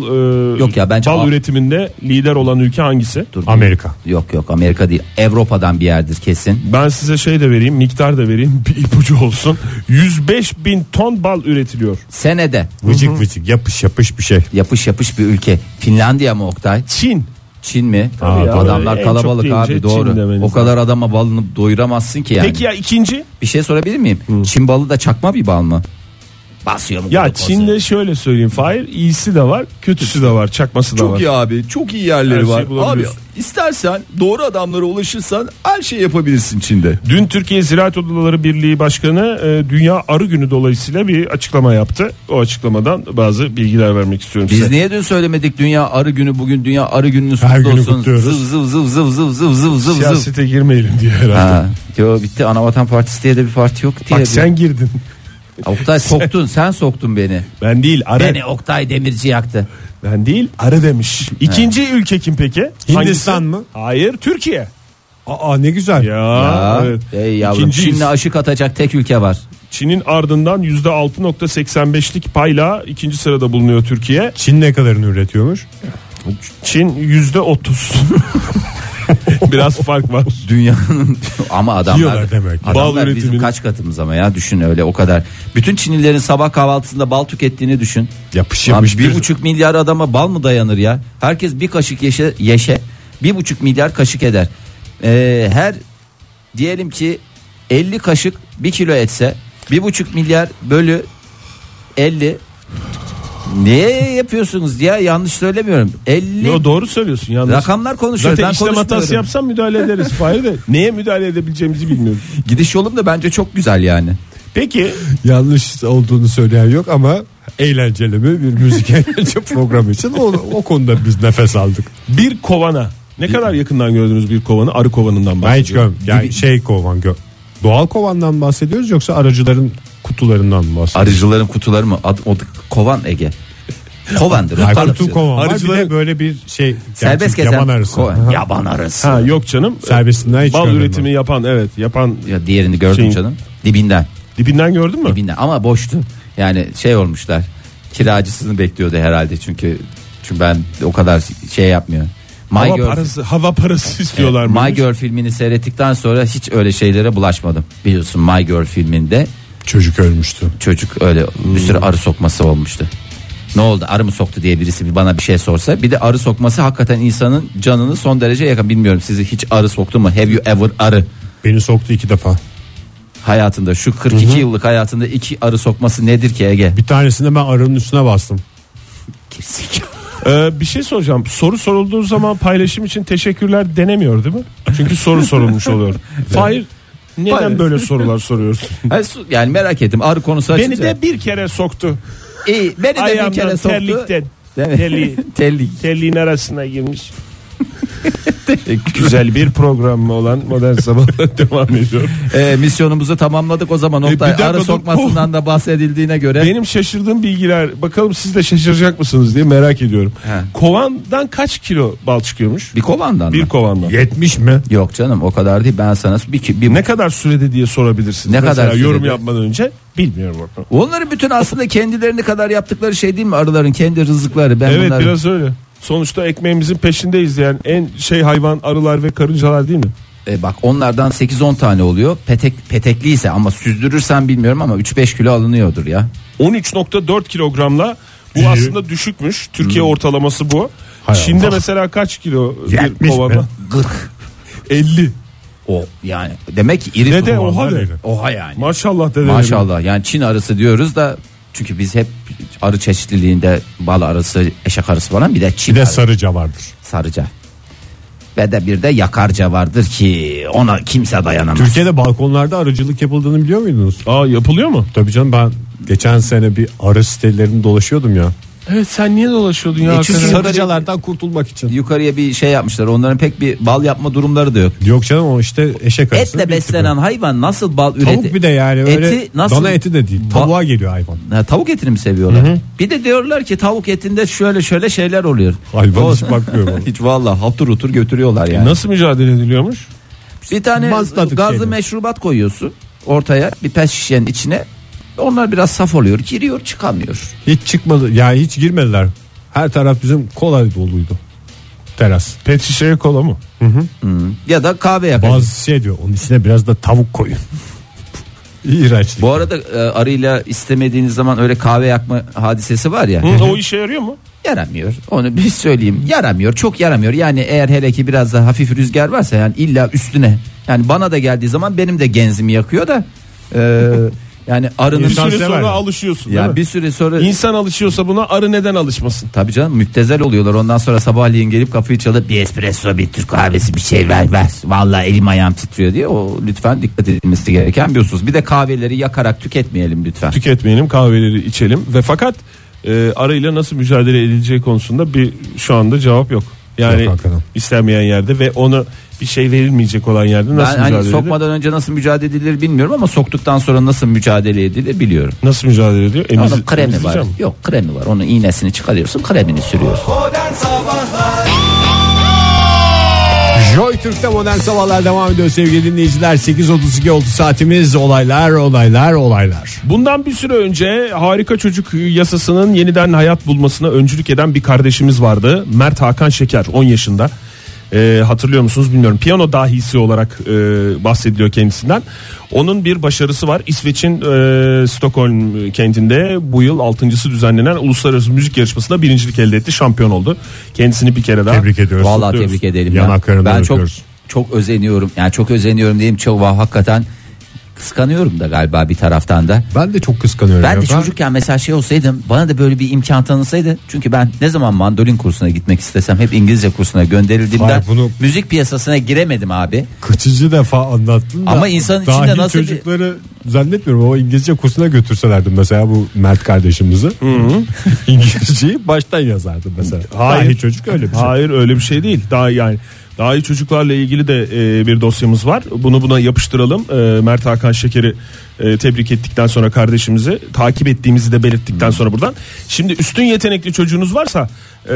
S5: e,
S4: Yok ya, bence
S5: bal
S4: Av-
S5: üretiminde lider olan ülke hangisi?
S4: Dur, dur.
S3: Amerika.
S4: Yok yok Amerika değil. Avrupa'dan bir yerdir kesin.
S5: Ben size şey de vereyim, miktar da vereyim, bir ipucu olsun. 105 bin ton bal üretiliyor.
S4: Senede
S3: Vıcık vıcık yapış yapış bir şey.
S4: yapış yapış bir ülke. Finlandiya mı Oktay?
S5: Çin.
S4: Çin mi?
S5: Tabii ya,
S4: Adamlar
S5: en çok
S4: kalabalık
S5: deyince
S4: abi
S5: Çin
S4: doğru.
S5: demeniz
S4: O kadar adama balını doyuramazsın ki yani.
S5: Peki ya ikinci?
S4: Bir şey sorabilir miyim? Çin balı da çakma bir bal mı? Basıyor mu?
S5: Ya
S4: kolu
S5: Çin'de şöyle söyleyeyim Fahir iyisi de var kötüsü de var çakması da var.
S6: Çok iyi abi. Çok iyi yerleri
S5: Her şeyi
S6: var. Abi
S5: bulabiliyorsun.
S6: istersen doğru adamlara ulaşırsan her şey yapabilirsin Çin'de.
S5: Dün Türkiye Ziraat Odaları Birliği Başkanı e, Dünya Arı Günü dolayısıyla bir açıklama yaptı. O açıklamadan bazı bilgiler vermek istiyorum
S4: Biz
S5: size.
S4: niye dün söylemedik Dünya Arı Günü bugün Dünya Arı Günü'nüz
S3: Her
S4: kutlu
S3: günü
S4: olsun. Zıv
S3: kutluyoruz.
S4: zıv zıv zıv zıv zıv zıv zıv zıv.
S5: Siyasete girmeyelim diye herhalde.
S4: Ha, yo, bitti Anavatan Partisi diye de bir parti yok diye.
S5: Bak sen girdin.
S4: Oktay soktun sen soktun beni.
S5: Ben değil arı.
S4: Beni Oktay Demirci yaktı.
S5: Ben değil arı demiş. İkinci ülke kim peki?
S3: Hindistan mı?
S5: Hayır Türkiye.
S3: Aa ne güzel.
S5: Ya,
S4: Ha,
S5: evet.
S4: Ey yavrum
S5: İkinciyiz.
S4: Çin'le aşık atacak tek ülke var.
S5: Çin'in ardından %6.85'lik payla ikinci sırada bulunuyor Türkiye.
S3: Çin ne kadarını üretiyormuş?
S5: Çin %30. Biraz fark var.
S4: Dünyanın ama adamlar,
S3: Yiyorlar demek ki.
S5: Bal
S4: adamlar bizim
S5: üretimini.
S4: kaç katımız ama ya düşün öyle o kadar. Bütün Çinlilerin sabah kahvaltısında bal tükettiğini düşün.
S3: Yapış
S4: Abi
S3: yapış
S4: bir buçuk milyar adama bal mı dayanır ya? Herkes bir kaşık yeşe, yeşe bir buçuk milyar kaşık eder. Ee, her diyelim ki 50 kaşık bir kilo etse bir buçuk milyar bölü 50 Niye yapıyorsunuz ya yanlış söylemiyorum. 50
S5: Yo, doğru söylüyorsun yalnız.
S4: rakamlar konuşuyor.
S5: Zaten
S4: ben
S5: işlem hatası
S4: konuşmuyorum.
S5: yapsam müdahale ederiz Fahir de. Neye müdahale edebileceğimizi bilmiyoruz.
S4: Gidiş yolum da bence çok güzel yani.
S5: Peki
S3: Yanlış olduğunu söyleyen yok ama eğlenceli mi bir müzik eğlence programı için o, o konuda biz nefes aldık.
S5: bir kovana. Ne kadar yakından gördünüz bir kovanı? Arı kovanından
S3: Ben hiç
S5: bahsediyorum.
S3: görmedim. Yani şey kovan gö Doğal kovandan mı bahsediyoruz yoksa aracıların kutularından mı bahsediyoruz?
S4: Arıcıların kutuları mı? Ad, o da- kovan Ege. Kovandır.
S3: Ay,
S4: Yaparız.
S3: kutu kovan var. Bir
S5: Arıcıların-
S3: de böyle bir şey.
S4: Serbest
S3: gerçi
S4: gezen.
S3: Yaman arısı.
S4: kovan. Yaban arısı.
S5: Ha yok canım.
S3: Serbestinden hiç
S5: Bal
S3: görmedim
S5: üretimi
S3: ben.
S5: yapan evet yapan
S4: Ya diğerini gördüm
S5: Şeyin-
S4: canım. Dibinden.
S5: dibinden gördün mü?
S4: Dibinden ama boştu. Yani şey olmuşlar. Kiracısını bekliyordu herhalde çünkü çünkü ben o kadar şey yapmıyor. My
S5: Hava
S4: Girl,
S5: parası, hava parası istiyorlar mı?
S4: My Girl filmini seyrettikten sonra hiç öyle şeylere bulaşmadım. Biliyorsun My Girl filminde
S3: Çocuk ölmüştü.
S4: çocuk öyle bir sürü
S5: Hmm.
S4: arı sokması olmuştu. Ne oldu arı mı soktu diye birisi bir bana bir şey sorsa bir de arı sokması hakikaten insanın canını son derece yakın bilmiyorum sizi hiç arı soktu mu have you ever arı
S3: Beni soktu iki defa.
S4: hayatında şu 42 yıllık hayatında iki arı sokması nedir ki Ege
S3: Bir tanesinde ben arının üstüne bastım.
S5: Ee, bir şey soracağım. Soru sorulduğu zaman paylaşım için teşekkürler denemiyor değil mi? Çünkü soru sorulmuş oluyor. Fahir neden
S6: Fahir.
S5: böyle sorular soruyorsun?
S4: Ay, su- yani merak ettim arı konusu
S5: Beni
S4: açınca-
S5: de bir kere soktu.
S4: İyi, beni de bir kere
S5: Ayağımdan
S4: soktu.
S5: terlikten.
S4: Değil mi?
S5: Terliği.
S4: Terlik.
S5: Telliğin arasına girmiş. E, Güzel bir program olan Modern Sabah'la devam ediyor.
S4: Ee, misyonumuzu tamamladık o zaman
S5: E, bir
S4: Oktay.
S5: dakika,
S4: arı
S5: dur.
S4: sokmasından da bahsedildiğine göre.
S5: Benim şaşırdığım bilgiler bakalım siz de şaşıracak mısınız diye merak ediyorum.
S4: He.
S5: Kovandan kaç kilo bal çıkıyormuş?
S4: Bir kovandan
S5: Bir
S4: mı?
S5: kovandan.
S3: 70 mi?
S4: Yok canım o kadar değil ben sana bir, ki- bir
S5: Ne kadar sürede diye sorabilirsiniz.
S4: Ne
S5: Mesela
S4: kadar sürede?
S5: yorum yapmadan önce bilmiyorum.
S4: Onların bütün aslında kendilerini kadar yaptıkları şey değil mi arıların kendi rızıkları ben
S5: evet
S4: bunları-
S5: biraz öyle. Sonuçta ekmeğimizin peşindeyiz yani en şey hayvan arılar ve karıncalar değil mi?
S4: E, bak onlardan 8-10 tane oluyor petek petekliyse ama süzdürürsen bilmiyorum ama 3-5 kilo alınıyordur ya
S5: 13.4 kilogramla bu
S3: İyi. Hmm.
S5: aslında düşükmüş. Türkiye ortalaması bu.
S3: Hay
S5: Çin'de
S3: Allah.
S5: mesela kaç kilo bir
S3: 70 mi?
S5: kovana?
S4: 40
S5: 50.
S4: o yani demek ki iri
S5: Dede
S4: kovanlar.
S5: oha de.
S4: oha yani
S5: Maşallah dede.
S4: Maşallah yani Çin arısı diyoruz da çünkü biz hep arı çeşitliliğinde bal arısı, eşek arısı falan bir de Çin
S3: Bir de
S4: arı-
S3: sarıca vardır.
S4: sarıca. Ve de bir de yakarca vardır ki ona kimse dayanamaz.
S3: Türkiye'de balkonlarda arıcılık yapıldığını biliyor muydunuz?
S5: Aa yapılıyor mu?
S3: Tabii canım ben geçen sene bir arı sitelerinde dolaşıyordum ya.
S5: Evet sen niye dolaşıyordun ya?
S4: E, çünkü
S5: hakikaten?
S3: Sarıcalardan kurtulmak için.
S4: Yukarıya bir şey yapmışlar. Onların pek bir bal yapma durumları da yok.
S3: Yok canım o işte eşek arısı.
S4: Etle beslenen hayvan nasıl bal üreti?
S3: Tavuk bir de yani öyle
S4: Eti nasıl-
S3: dana eti de değil.
S4: Ba-
S3: Tavuğa geliyor hayvan.
S4: Ha, tavuk etini mi seviyorlar? Bir de diyorlar ki tavuk etinde şöyle şöyle şeyler oluyor.
S3: Hayvan
S4: O-
S3: hiç bakmıyor bana.
S4: hiç valla haptur hutur götürüyorlar yani.
S5: Nasıl mücadele ediliyormuş?
S4: Bir tane
S3: Mazladık
S4: gazlı
S3: şeyler.
S4: meşrubat koyuyorsun ortaya bir pes şişenin içine. Onlar biraz saf oluyor. Giriyor çıkamıyor.
S3: Hiç çıkmadı ya hiç girmediler. Her taraf bizim kola doluydu. Teras.
S5: Pet şişeye kola mı?
S4: Ya da kahve yakacak.
S3: Bazı şey diyor onun içine biraz da tavuk koyun. İğrenç.
S4: Bu arada e, arıyla istemediğiniz zaman öyle kahve yakma hadisesi var ya.
S5: Hı, o işe yarıyor mu?
S4: Yaramıyor. Onu bir söyleyeyim. Yaramıyor. Çok yaramıyor. Yani eğer hele ki biraz da hafif rüzgar varsa yani illa üstüne. Yani bana da geldiği zaman benim de genzimi yakıyor da. e, yani arının
S5: Bir
S3: İnsan
S5: süre
S3: sever
S5: sonra
S3: mi?
S5: alışıyorsun değil
S4: ya
S5: mi?
S4: bir süre sonra
S5: İnsan alışıyorsa buna arı neden alışmasın?
S4: Tabii canım müptezel oluyorlar ondan sonra sabahleyin gelip kapıyı çalıp bir espresso bir Türk kahvesi bir şey ver ver. Vallahi elim ayağım titriyor diye o lütfen dikkat edilmesi gereken bir husus. Bir de kahveleri yakarak tüketmeyelim lütfen.
S5: Tüketmeyelim kahveleri içelim ve fakat e, arıyla nasıl mücadele edileceği konusunda bir şu anda cevap yok. Yani
S3: Yok hakikaten.
S5: istenmeyen yerde ve ona bir şey verilmeyecek olan yerde
S4: Ben
S5: nasıl
S4: hani
S5: mücadele edilir?
S4: sokmadan önce nasıl mücadele edilir bilmiyorum ama soktuktan sonra nasıl mücadele edilir biliyorum.
S5: Nasıl mücadele ediyor? Emiz,
S4: Onun kremi var.
S5: emizleyeceğim.
S4: Yok kremi var. Onun iğnesini çıkarıyorsun kremini sürüyorsun.
S2: Modern Sabahlar
S3: Joy Türk'te modern sabahlar devam ediyor sevgili dinleyiciler. 8.32 oldu saatimiz olaylar olaylar olaylar.
S5: Bundan bir süre önce harika çocuk yasasının yeniden hayat bulmasına öncülük eden bir kardeşimiz vardı. Mert Hakan Şeker 10 yaşında. Ee, hatırlıyor musunuz bilmiyorum. Piyano dahisi olarak e, bahsediliyor kendisinden. Onun bir başarısı var. İsveç'in e, Stockholm kentinde bu yıl 6.sı düzenlenen uluslararası müzik yarışmasında birincilik elde etti. Şampiyon oldu. Kendisini bir kere daha
S3: Tebrik ediyoruz.
S4: Vallahi
S5: diyoruz.
S4: tebrik edelim. ya.
S3: Yanaklarından
S4: Ben çok
S3: öpüyoruz.
S4: çok özeniyorum. Yani çok özeniyorum diyeyim. Çok hakikaten kıskanıyorum da galiba bir taraftan da.
S3: Ben de çok kıskanıyorum.
S4: Ben de
S3: ya.
S4: çocukken mesela şey olsaydım bana da böyle bir imkan tanınsaydı. Çünkü ben ne zaman mandolin kursuna gitmek istesem hep İngilizce kursuna gönderildiğimden
S3: Hayır, bunu-
S4: müzik piyasasına giremedim abi.
S3: Kaçıncı defa anlattın da.
S4: Ama insanın
S3: dahil
S4: içinde nasıl bir-
S3: çocukları zannetmiyorum. O İngilizce kursuna götürselerdi mesela bu Mert kardeşimizi. İngilizceyi baştan yazardı mesela.
S5: Hayır.
S3: Dahil çocuk öyle bir şey.
S5: Hayır öyle bir şey değil. Daha yani daha iyi çocuklarla ilgili de e, bir dosyamız var. Bunu buna yapıştıralım. E, Mert Hakan Şeker'i e, tebrik ettikten sonra kardeşimizi takip ettiğimizi de belirttikten
S4: Hmm.
S5: sonra buradan. Şimdi üstün yetenekli çocuğunuz varsa e,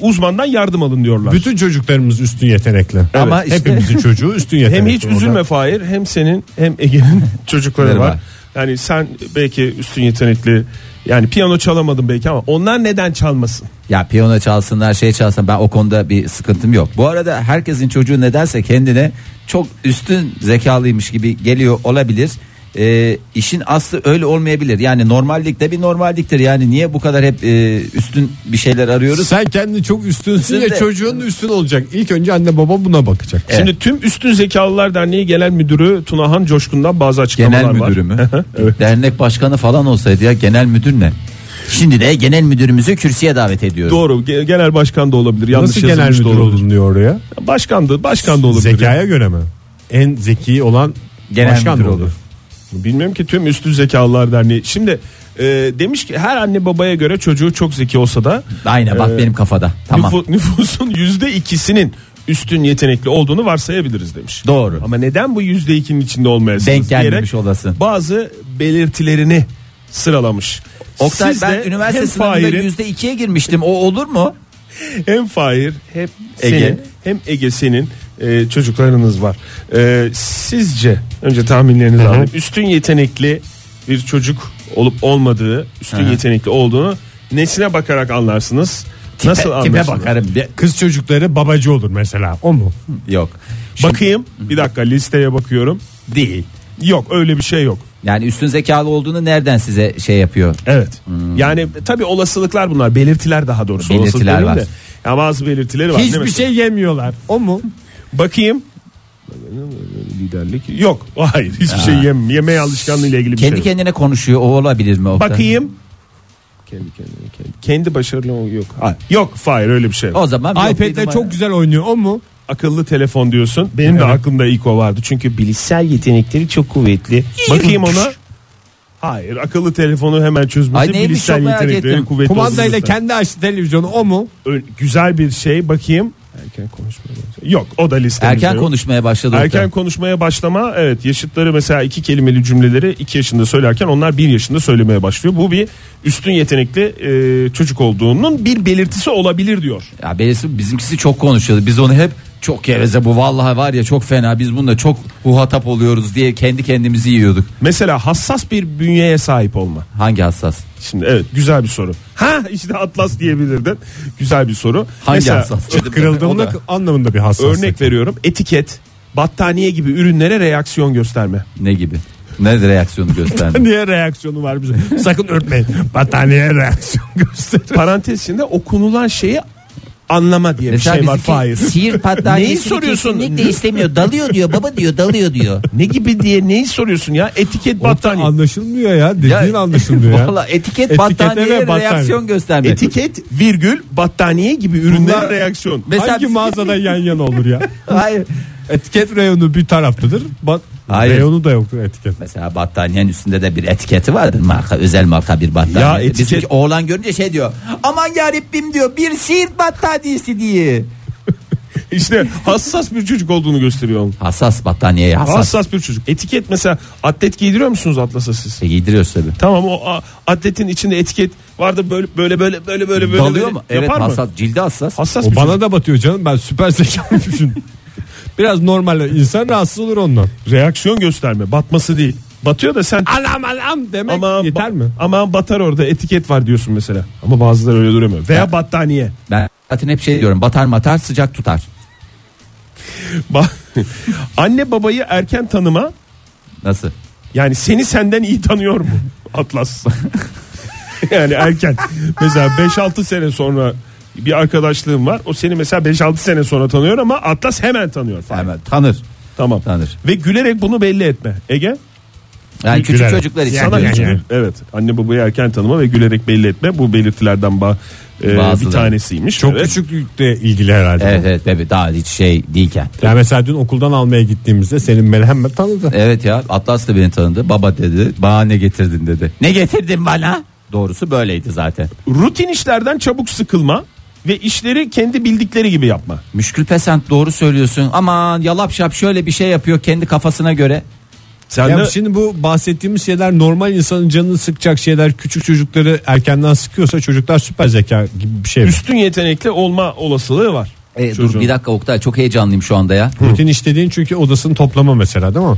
S5: uzmandan yardım alın diyorlar.
S3: Bütün çocuklarımız üstün yetenekli.
S4: Ama işte-
S3: Hepimizin çocuğu üstün yetenekli.
S5: hem hiç
S3: Oradan-
S5: üzülme Fahir hem senin hem Ege'nin çocukları
S4: Merhaba.
S5: var. Yani sen belki üstün yetenekli yani piyano çalamadın belki ama onlar neden çalmasın?
S4: Ya piyano çalsınlar şey çalsın ben o konuda bir sıkıntım yok. Bu arada herkesin çocuğu nedense kendine çok üstün zekalıymış gibi geliyor olabilir. Ee, işin aslı öyle olmayabilir. Yani normallik de bir normalliktir. Yani niye bu kadar hep e, üstün bir şeyler arıyoruz?
S3: Sen kendini çok üstünsün
S4: Üstün
S3: ya
S4: de-
S3: çocuğun üstün olacak. İlk önce anne baba buna bakacak.
S5: Şimdi tüm Üstün Zekalılar Derneği Genel Müdürü Tunahan Coşkun'dan bazı açıklamalar
S4: Genel
S5: var.
S4: müdürü mü? Dernek başkanı falan olsaydı ya genel müdür ne? Şimdi de genel müdürümüzü kürsüye davet ediyoruz.
S5: Doğru. ge- Genel başkan da olabilir. Yanlış
S3: Nasıl genel
S5: yazılmış
S3: müdür
S5: da olabilir.
S3: oldun diyor oraya?
S5: Başkan da başkan da olabilir.
S3: Zekaya göre mi? En zeki olan
S4: Genel
S3: başkan
S4: müdür
S3: mı olur?
S4: olur.
S5: Bilmiyorum ki tüm üstün zekalılar derneği. Şimdi e, demiş ki her anne babaya göre çocuğu çok zeki olsa da
S4: Aynen bak
S5: Ee,
S4: benim kafada. Tamam.
S5: nüfu- nüfusun yüzde ikisinin üstün yetenekli olduğunu varsayabiliriz demiş.
S4: Doğru.
S5: Ama neden bu yüzde ikinin içinde olmayasınız?
S4: Denk gelmemiş
S5: diyerek
S4: olasın.
S5: Bazı belirtilerini sıralamış.
S4: Oktay
S5: Siz
S4: ben
S5: de
S4: üniversite
S5: hem
S4: sınavında
S5: Fahir'in-
S4: yüzde ikiye girmiştim. O olur mu?
S5: Hem Fahir hem
S4: Ege.
S5: Ege hem Ege senin e, çocuklarınız var. E, sizce önce tahminlerinizi alayım. Üstün yetenekli bir çocuk olup olmadığı, üstün yetenekli olduğunu nesine bakarak anlarsınız? Nasıl
S4: Tipe
S5: anlarsınız?
S4: bakarım. De-
S3: Kız çocukları babacı olur mesela. O mu?
S4: Yok.
S5: Bakayım. Bir dakika listeye bakıyorum.
S4: Değil.
S5: Yok öyle bir şey yok.
S4: Yani üstün zekalı olduğunu nereden size şey yapıyor?
S5: Evet. Yani tabii olasılıklar bunlar. Belirtiler daha doğrusu.
S4: Hmm. Belirtiler
S5: Olasılık demeyeyim
S4: var.
S5: de. Ya bazı belirtileri var. değil mi?
S3: Hiçbir şey yemiyorlar. O mu?
S5: Bakayım. Liderlik. Yok. Hayır. Hiçbir şey yem, yemeğe alışkanlığıyla ilgili bir
S4: Kendi
S5: şey. yok.
S4: kendine konuşuyor. O olabilir mi Oktay?
S5: Bakayım. Kendi kendine kendi. Kendi başarılı ol- yok. Ha, yok hayır öyle bir şey. yok.
S4: O zaman yok, bir
S3: iPad'le
S4: numara.
S3: çok güzel oynuyor. O mu?
S5: Akıllı telefon diyorsun. Benim de aklımda ilk o vardı. Çünkü bilişsel yetenekleri çok kuvvetli. Bakayım ona. Hayır akıllı telefonu hemen çözmesi
S4: Ay neymiş,
S5: bilişsel
S4: çok merak
S5: yetenekleri
S4: ettim.
S5: kuvvetli.
S3: Kumandayla
S5: olması.
S3: kendi açtı televizyonu. O mu?
S5: Ö- güzel bir şey bakayım. Erken konuşmaya Yok o da listemizde
S4: Erken
S5: yok.
S4: konuşmaya başladı. Oktay.
S5: Erken konuşmaya başlama evet yaşıtları mesela iki kelimeli cümleleri iki yaşında söylerken onlar bir yaşında söylemeye başlıyor. Bu bir üstün yetenekli e, çocuk olduğunun bir belirtisi olabilir diyor.
S4: Ya belirsiz bizimkisi çok konuşuyordu. Biz onu hep Çok geveze bu vallahi var ya çok fena biz bununla çok muhatap oluyoruz diye kendi kendimizi yiyorduk.
S5: Mesela hassas bir bünyeye sahip olma.
S4: Hangi hassas?
S5: Şimdi evet güzel bir soru. Ha işte atlas diyebilirdin. Güzel bir soru.
S4: Hangi
S5: Mesela,
S4: hassas?
S3: Kırıldığında anlamında bir hassaslık.
S5: Örnek veriyorum etiket, battaniye gibi ürünlere reaksiyon gösterme.
S4: Ne gibi? Ne reaksiyonu gösterdi?
S3: Niye reaksiyonu var bize? Sakın örtmeyin. Battaniye reaksiyon gösterir.
S5: Parantez içinde okunulan şeyi anlama diye bir
S4: Mesela
S5: şey var.
S4: bizimki
S5: Faiz.
S4: Sihir
S5: Neyi
S4: patlanesini
S5: soruyorsun?
S4: kesinlikle istemiyor. Dalıyor diyor baba diyor dalıyor diyor.
S5: Ne gibi diye neyi soruyorsun ya? Etiket battaniye.
S3: Anlaşılmıyor ya. Dediğin anlaşılmıyor ya.
S4: Valla etiket
S3: Etikete
S4: battaniyeye
S3: ve battaniye.
S4: reaksiyon gösterme.
S5: Etiket virgül battaniye gibi ürünlere reaksiyon.
S4: Mesela
S3: Hangi
S4: biz-
S3: mağazada yan yana olur ya?
S4: Hayır.
S3: Etiket reyonu bir taraftadır. Bat
S4: Hayır.
S3: Reyonu da yoktur etiket.
S4: Mesela battaniyenin üstünde de bir etiketi vardır marka özel marka bir battaniye.
S5: Ya etiket-
S4: Bizimki oğlan görünce şey diyor. Aman yarabbim diyor bir siirt battaniyesi diye.
S5: İşte hassas bir çocuk olduğunu gösteriyor. onun.
S4: Hassas battaniyeye hassas.
S5: Hassas. bir çocuk. Etiket mesela atlet giydiriyor musunuz atlasa siz?
S4: E, giydiriyoruz tabii.
S5: Tamam o a, atletin içinde etiket vardı böyle böyle böyle böyle böyle böyle.
S4: Dalıyor
S5: böyle.
S4: mu? Evet
S5: Yapar mı?
S4: hassas. Cildi hassas.
S5: Hassas
S3: O
S5: bir şey?
S3: bana
S5: çocuk.
S3: da batıyor canım. Ben süper zekalı düşün. Biraz normal insan rahatsız olur ondan.
S5: reaksiyon gösterme. Batması değil. Batıyor da sen
S3: Alam alam demek
S5: ama
S3: yeter mi?
S5: Ama batar orada etiket var diyorsun mesela. Ama bazıları öyle duramıyor. Veya battaniye.
S4: Ben zaten hep şey diyorum. Batar matar sıcak tutar.
S5: Ba- Anne babayı erken tanıma
S4: Nasıl?
S5: Yani seni senden iyi tanıyor mu Atlas? yani erken. Mesela 5-6 sene sonra bir arkadaşlığım var. O seni mesela 5-6 sene sonra tanıyor ama Atlas hemen tanıyor.
S4: Hemen tanır.
S5: Tamam.
S4: Tanır.
S5: Ve gülerek bunu belli etme. Ege
S4: Yani küçük
S3: Gülerek.
S4: çocuklar için.
S5: sana
S4: diyorum.
S5: hiç gül- Evet. Anne babayı erken tanıma ve gülerek belli etme. Bu belirtilerden ba- e, bir
S4: Bazıları.
S5: tanesiymiş.
S3: Çok
S5: Evet.
S3: küçüklükle ilgili herhalde.
S4: Evet evet tabii daha hiç şey değilken.
S3: Ya mesela dün okuldan almaya gittiğimizde senin beni hemen tanıdı.
S4: Evet ya Atlas da beni tanıdı. Baba dedi. Bana ne getirdin dedi. Ne getirdin bana? Doğrusu böyleydi zaten.
S5: Rutin işlerden çabuk sıkılma ve işleri kendi bildikleri gibi yapma.
S4: Müşkül pesent doğru söylüyorsun. Aman yalap şap şöyle bir şey yapıyor kendi kafasına göre.
S5: Sen
S3: Ya şey
S5: de
S3: şimdi bu bahsettiğimiz şeyler normal insanın canını sıkacak şeyler. Küçük çocukları erkenden sıkıyorsa çocuklar süper zeka gibi bir şey.
S5: üstün yetenekli olma olasılığı var.
S4: E, dur
S5: Çocuğun.
S4: bir dakika Oktay çok heyecanlıyım şu anda ya.
S3: Rutin işlediğin çünkü odasını toplama mesela değil mi?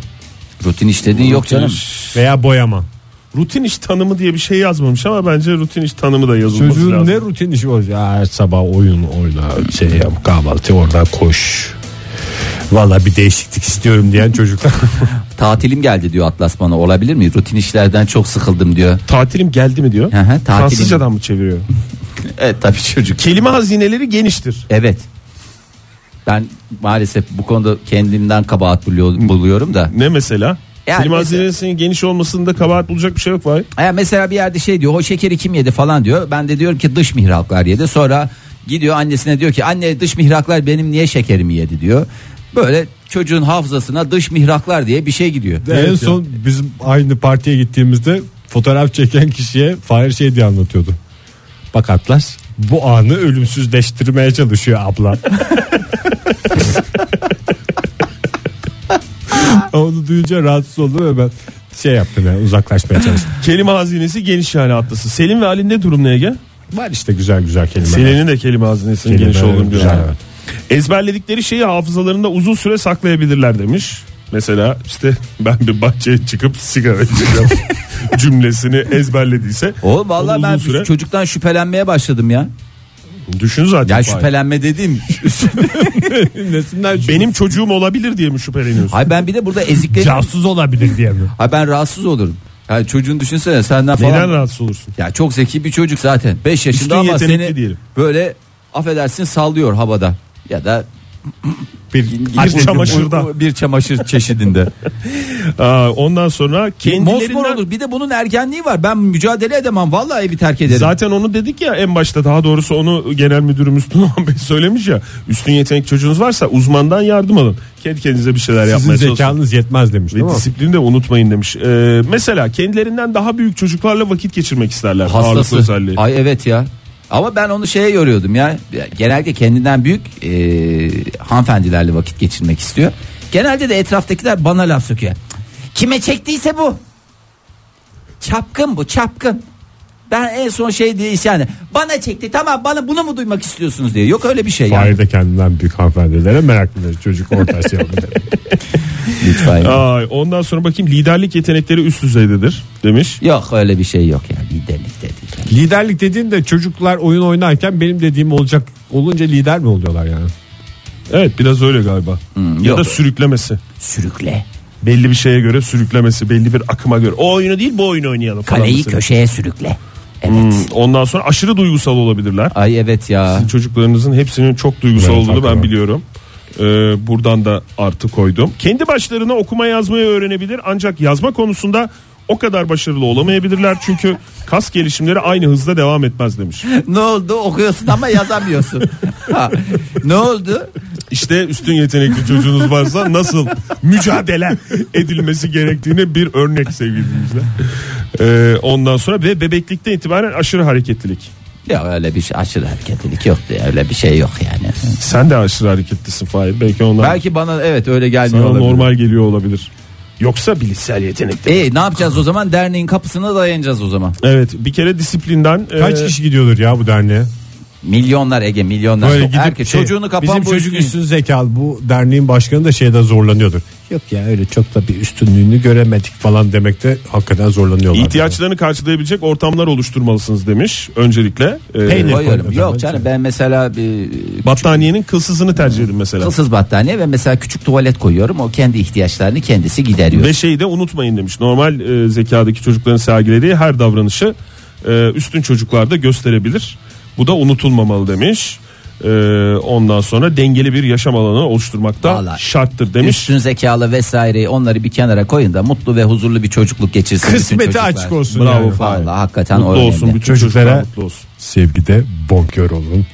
S4: Rutin iş dediğin yok canım.
S3: Veya boyama.
S5: Ee, Rutin iş tanımı diye bir şey yazmamış ama bence rutin iş tanımı da yazılması
S3: Çocuğun
S5: lazım.
S3: ne rutin işi olacak? Ya Her sabah oyun oyna, şey yap, kahvaltı oradan koş. Valla bir değişiklik istiyorum diyen çocuklar.
S4: Tatilim geldi diyor Atlas bana olabilir mi? Rutin işlerden çok sıkıldım diyor.
S5: Tatilim geldi mi diyor.
S4: Hı hı, tatilim.
S5: Fransızcadan mı çeviriyor?
S4: Evet tabii çocuk.
S5: Kelime hazineleri geniştir.
S4: Evet. Ben maalesef bu konuda kendimden kabahat buluyor- buluyorum da.
S5: Ne mesela?
S4: Yani
S5: Kelime
S4: mesela-
S5: hazinesinin geniş olmasında kabahat bulacak bir şey yok var.
S4: Ya mesela bir yerde şey diyor o şekeri kim yedi falan diyor. Ben de diyorum ki dış mihraklar yedi. Sonra gidiyor annesine diyor ki anne dış mihraklar benim niye şekerimi yedi diyor. Böyle çocuğun hafızasına dış mihraklar diye bir şey gidiyor.
S3: en son bizim aynı partiye gittiğimizde fotoğraf çeken kişiye Fahir şey diye anlatıyordu. Bak Atlas bu anı ölümsüzleştirmeye çalışıyor abla. Onu duyunca rahatsız oldum ve ben şey yaptım yani uzaklaşmaya çalıştım.
S5: Kelime hazinesi geniş yani atlası. Selim ve Ali'nin durum ne Ege?
S3: Var işte güzel güzel kelimeler.
S5: Selin'in de kelime hazinesinin
S3: Kelime
S5: geniş olduğunu
S3: güzel,
S5: diyorlar.
S3: evet.
S5: Ezberledikleri şeyi hafızalarında uzun süre saklayabilirler demiş. Mesela işte ben bir bahçeye çıkıp sigara içeceğim cümlesini ezberlediyse.
S4: Oğlum vallahi
S5: onu
S4: ben
S5: uzun süre
S4: çocuktan şüphelenmeye başladım ya.
S5: düşün zaten.
S4: Yani
S5: Fahir.
S4: şüphelenme dediğim.
S5: Benim çocuğum olabilir diye mi şüpheleniyorsun?
S4: Ay ben bir de burada eziklerim.
S3: Casus olabilir diye mi?
S4: Ay ben rahatsız olurum. Yani çocuğun düşünsene senden falan.
S5: Neden rahatsız olursun?
S4: Ya çok zeki bir çocuk zaten. 5 yaşında
S5: Üstün
S4: ama
S5: yetenekli
S4: seni
S5: diyelim.
S4: böyle affedersin sallıyor havada. Ya da
S3: Bir
S5: Bir çamaşırda.
S4: bir çamaşır çeşidinde.
S5: Aa, ondan sonra
S4: Mosmor
S5: kendilerinden...
S4: olur. Bir de bunun ergenliği var. Ben mücadele edemem. Vallahi evi terk ederim.
S5: Zaten onu dedik ya en başta daha doğrusu onu genel müdürümüz Tuğhan Bey söylemiş ya. Üstün yetenek çocuğunuz varsa uzmandan yardım alın. Kendi kendinize bir şeyler
S3: Sizin
S5: yapmaya çalışın.
S3: zekanız yetmez demiş değil
S5: Ve
S3: mi?
S5: disiplini de unutmayın demiş. Ee, mesela kendilerinden daha büyük çocuklarla vakit geçirmek isterler. Ağırlıklı
S4: hastası.
S5: özelliği.
S4: Ay evet ya. Ama ben onu şeye yoruyordum ya. Genelde kendinden büyük e, hanımefendilerle vakit geçirmek istiyor. Genelde de etraftakiler bana laf söküyor. Kime çektiyse bu. Çapkın bu çapkın. Ben en son şey diye isyan ettim. Bana çekti tamam bana bunu mu duymak istiyorsunuz diye. Yok öyle bir şey yani.
S3: Fahir de kendinden büyük hanımefendilere meraklıdır. Çocuk ortası yapıyor.
S4: Lütfen.
S5: Ay, ondan sonra bakayım liderlik yetenekleri üst düzeydedir demiş.
S4: yok öyle bir şey yok yani liderlik de değil.
S3: Liderlik dediğin de çocuklar oyun oynarken benim dediğim olacak olunca lider mi oluyorlar yani?
S5: Evet biraz öyle galiba.
S3: Hmm,
S5: ya
S4: yok.
S5: da sürüklemesi.
S4: Sürükle.
S5: Belli bir şeye göre sürüklemesi, belli bir akıma göre. O oyunu değil bu oyunu oynayalım falan.
S4: Kaleyi
S5: mesela.
S4: köşeye sürükle. Evet.
S5: Hmm, Ondan sonra aşırı duygusal olabilirler.
S4: Ay evet ya.
S5: Çocuklarınızın hepsinin çok duygusal
S3: Evet,
S5: olduğunu ben
S3: hakikaten.
S5: biliyorum. Ee, buradan da artı koydum. Kendi başlarına okuma yazmayı öğrenebilir ancak yazma konusunda o kadar başarılı olamayabilirler. Çünkü kas gelişimleri aynı hızda devam etmez demiş.
S4: Ne oldu okuyorsun ama yazamıyorsun. Ha, ne oldu?
S5: İşte üstün yetenekli çocuğunuz varsa nasıl mücadele edilmesi gerektiğine bir örnek sevgili dinleyiciler. Ee, ondan sonra ve bebeklikten itibaren aşırı hareketlilik.
S4: Ya öyle bir şey aşırı hareketlilik yoktu ya, öyle bir şey yok yani.
S5: Sen de aşırı hareketlisin Fahir. Belki onlar
S4: Belki bana evet öyle gelmiyor
S5: sana
S4: olabilir.
S5: normal geliyor olabilir. Yoksa bilişsel yetenek. de-
S4: E ne yapacağız o zaman derneğin kapısına dayanacağız o zaman.
S5: Evet bir kere disiplinden
S3: Kaç
S5: e,
S3: kişi gidiyordur ya bu derneğe?
S4: Milyonlar Ege milyonlar.
S3: Böyle
S4: Çok-
S3: gidip
S4: Herkes,
S3: şey,
S4: çocuğunu kapan
S3: Bizim
S4: bu
S3: çocuk
S4: üstüne-
S3: üstün zekalı bu derneğin başkanı da şeyden zorlanıyordur. Yok ya öyle çok da bir üstünlüğünü göremedik falan demekte hakikaten zorlanıyorlar.
S5: ihtiyaçlarını karşılayabilecek ortamlar oluşturmalısınız demiş öncelikle. E,
S3: Peynir.
S4: Koyuyorum.
S3: Koymadan
S4: Yok canım ben mesela bir
S5: battaniyenin kılsızını tercih edin mesela.
S4: kılsız battaniye ve mesela küçük tuvalet koyuyorum. O kendi ihtiyaçlarını kendisi gideriyor.
S5: Ve şeyi de unutmayın demiş. Normal e, zekadaki çocukların sergilediği her davranışı e, üstün çocuklarda gösterebilir. Bu da unutulmamalı demiş. E, ondan sonra dengeli bir yaşam alanı oluşturmakta
S4: Vallahi
S5: şarttır demiş.
S4: Üstün zekalı vesaireyi onları bir kenara koyun da mutlu ve huzurlu bir çocukluk geçirsin. bütün
S3: Kısmeti
S4: çocuklar.
S3: açık olsun.
S5: Bravo.
S3: yani.
S4: Vallahi hakikaten
S5: mutlu
S4: o önemli.
S5: olsun bütün
S3: Çocuklara-
S5: çocuklara mutlu olsun.
S3: Sevgide bonkör olun.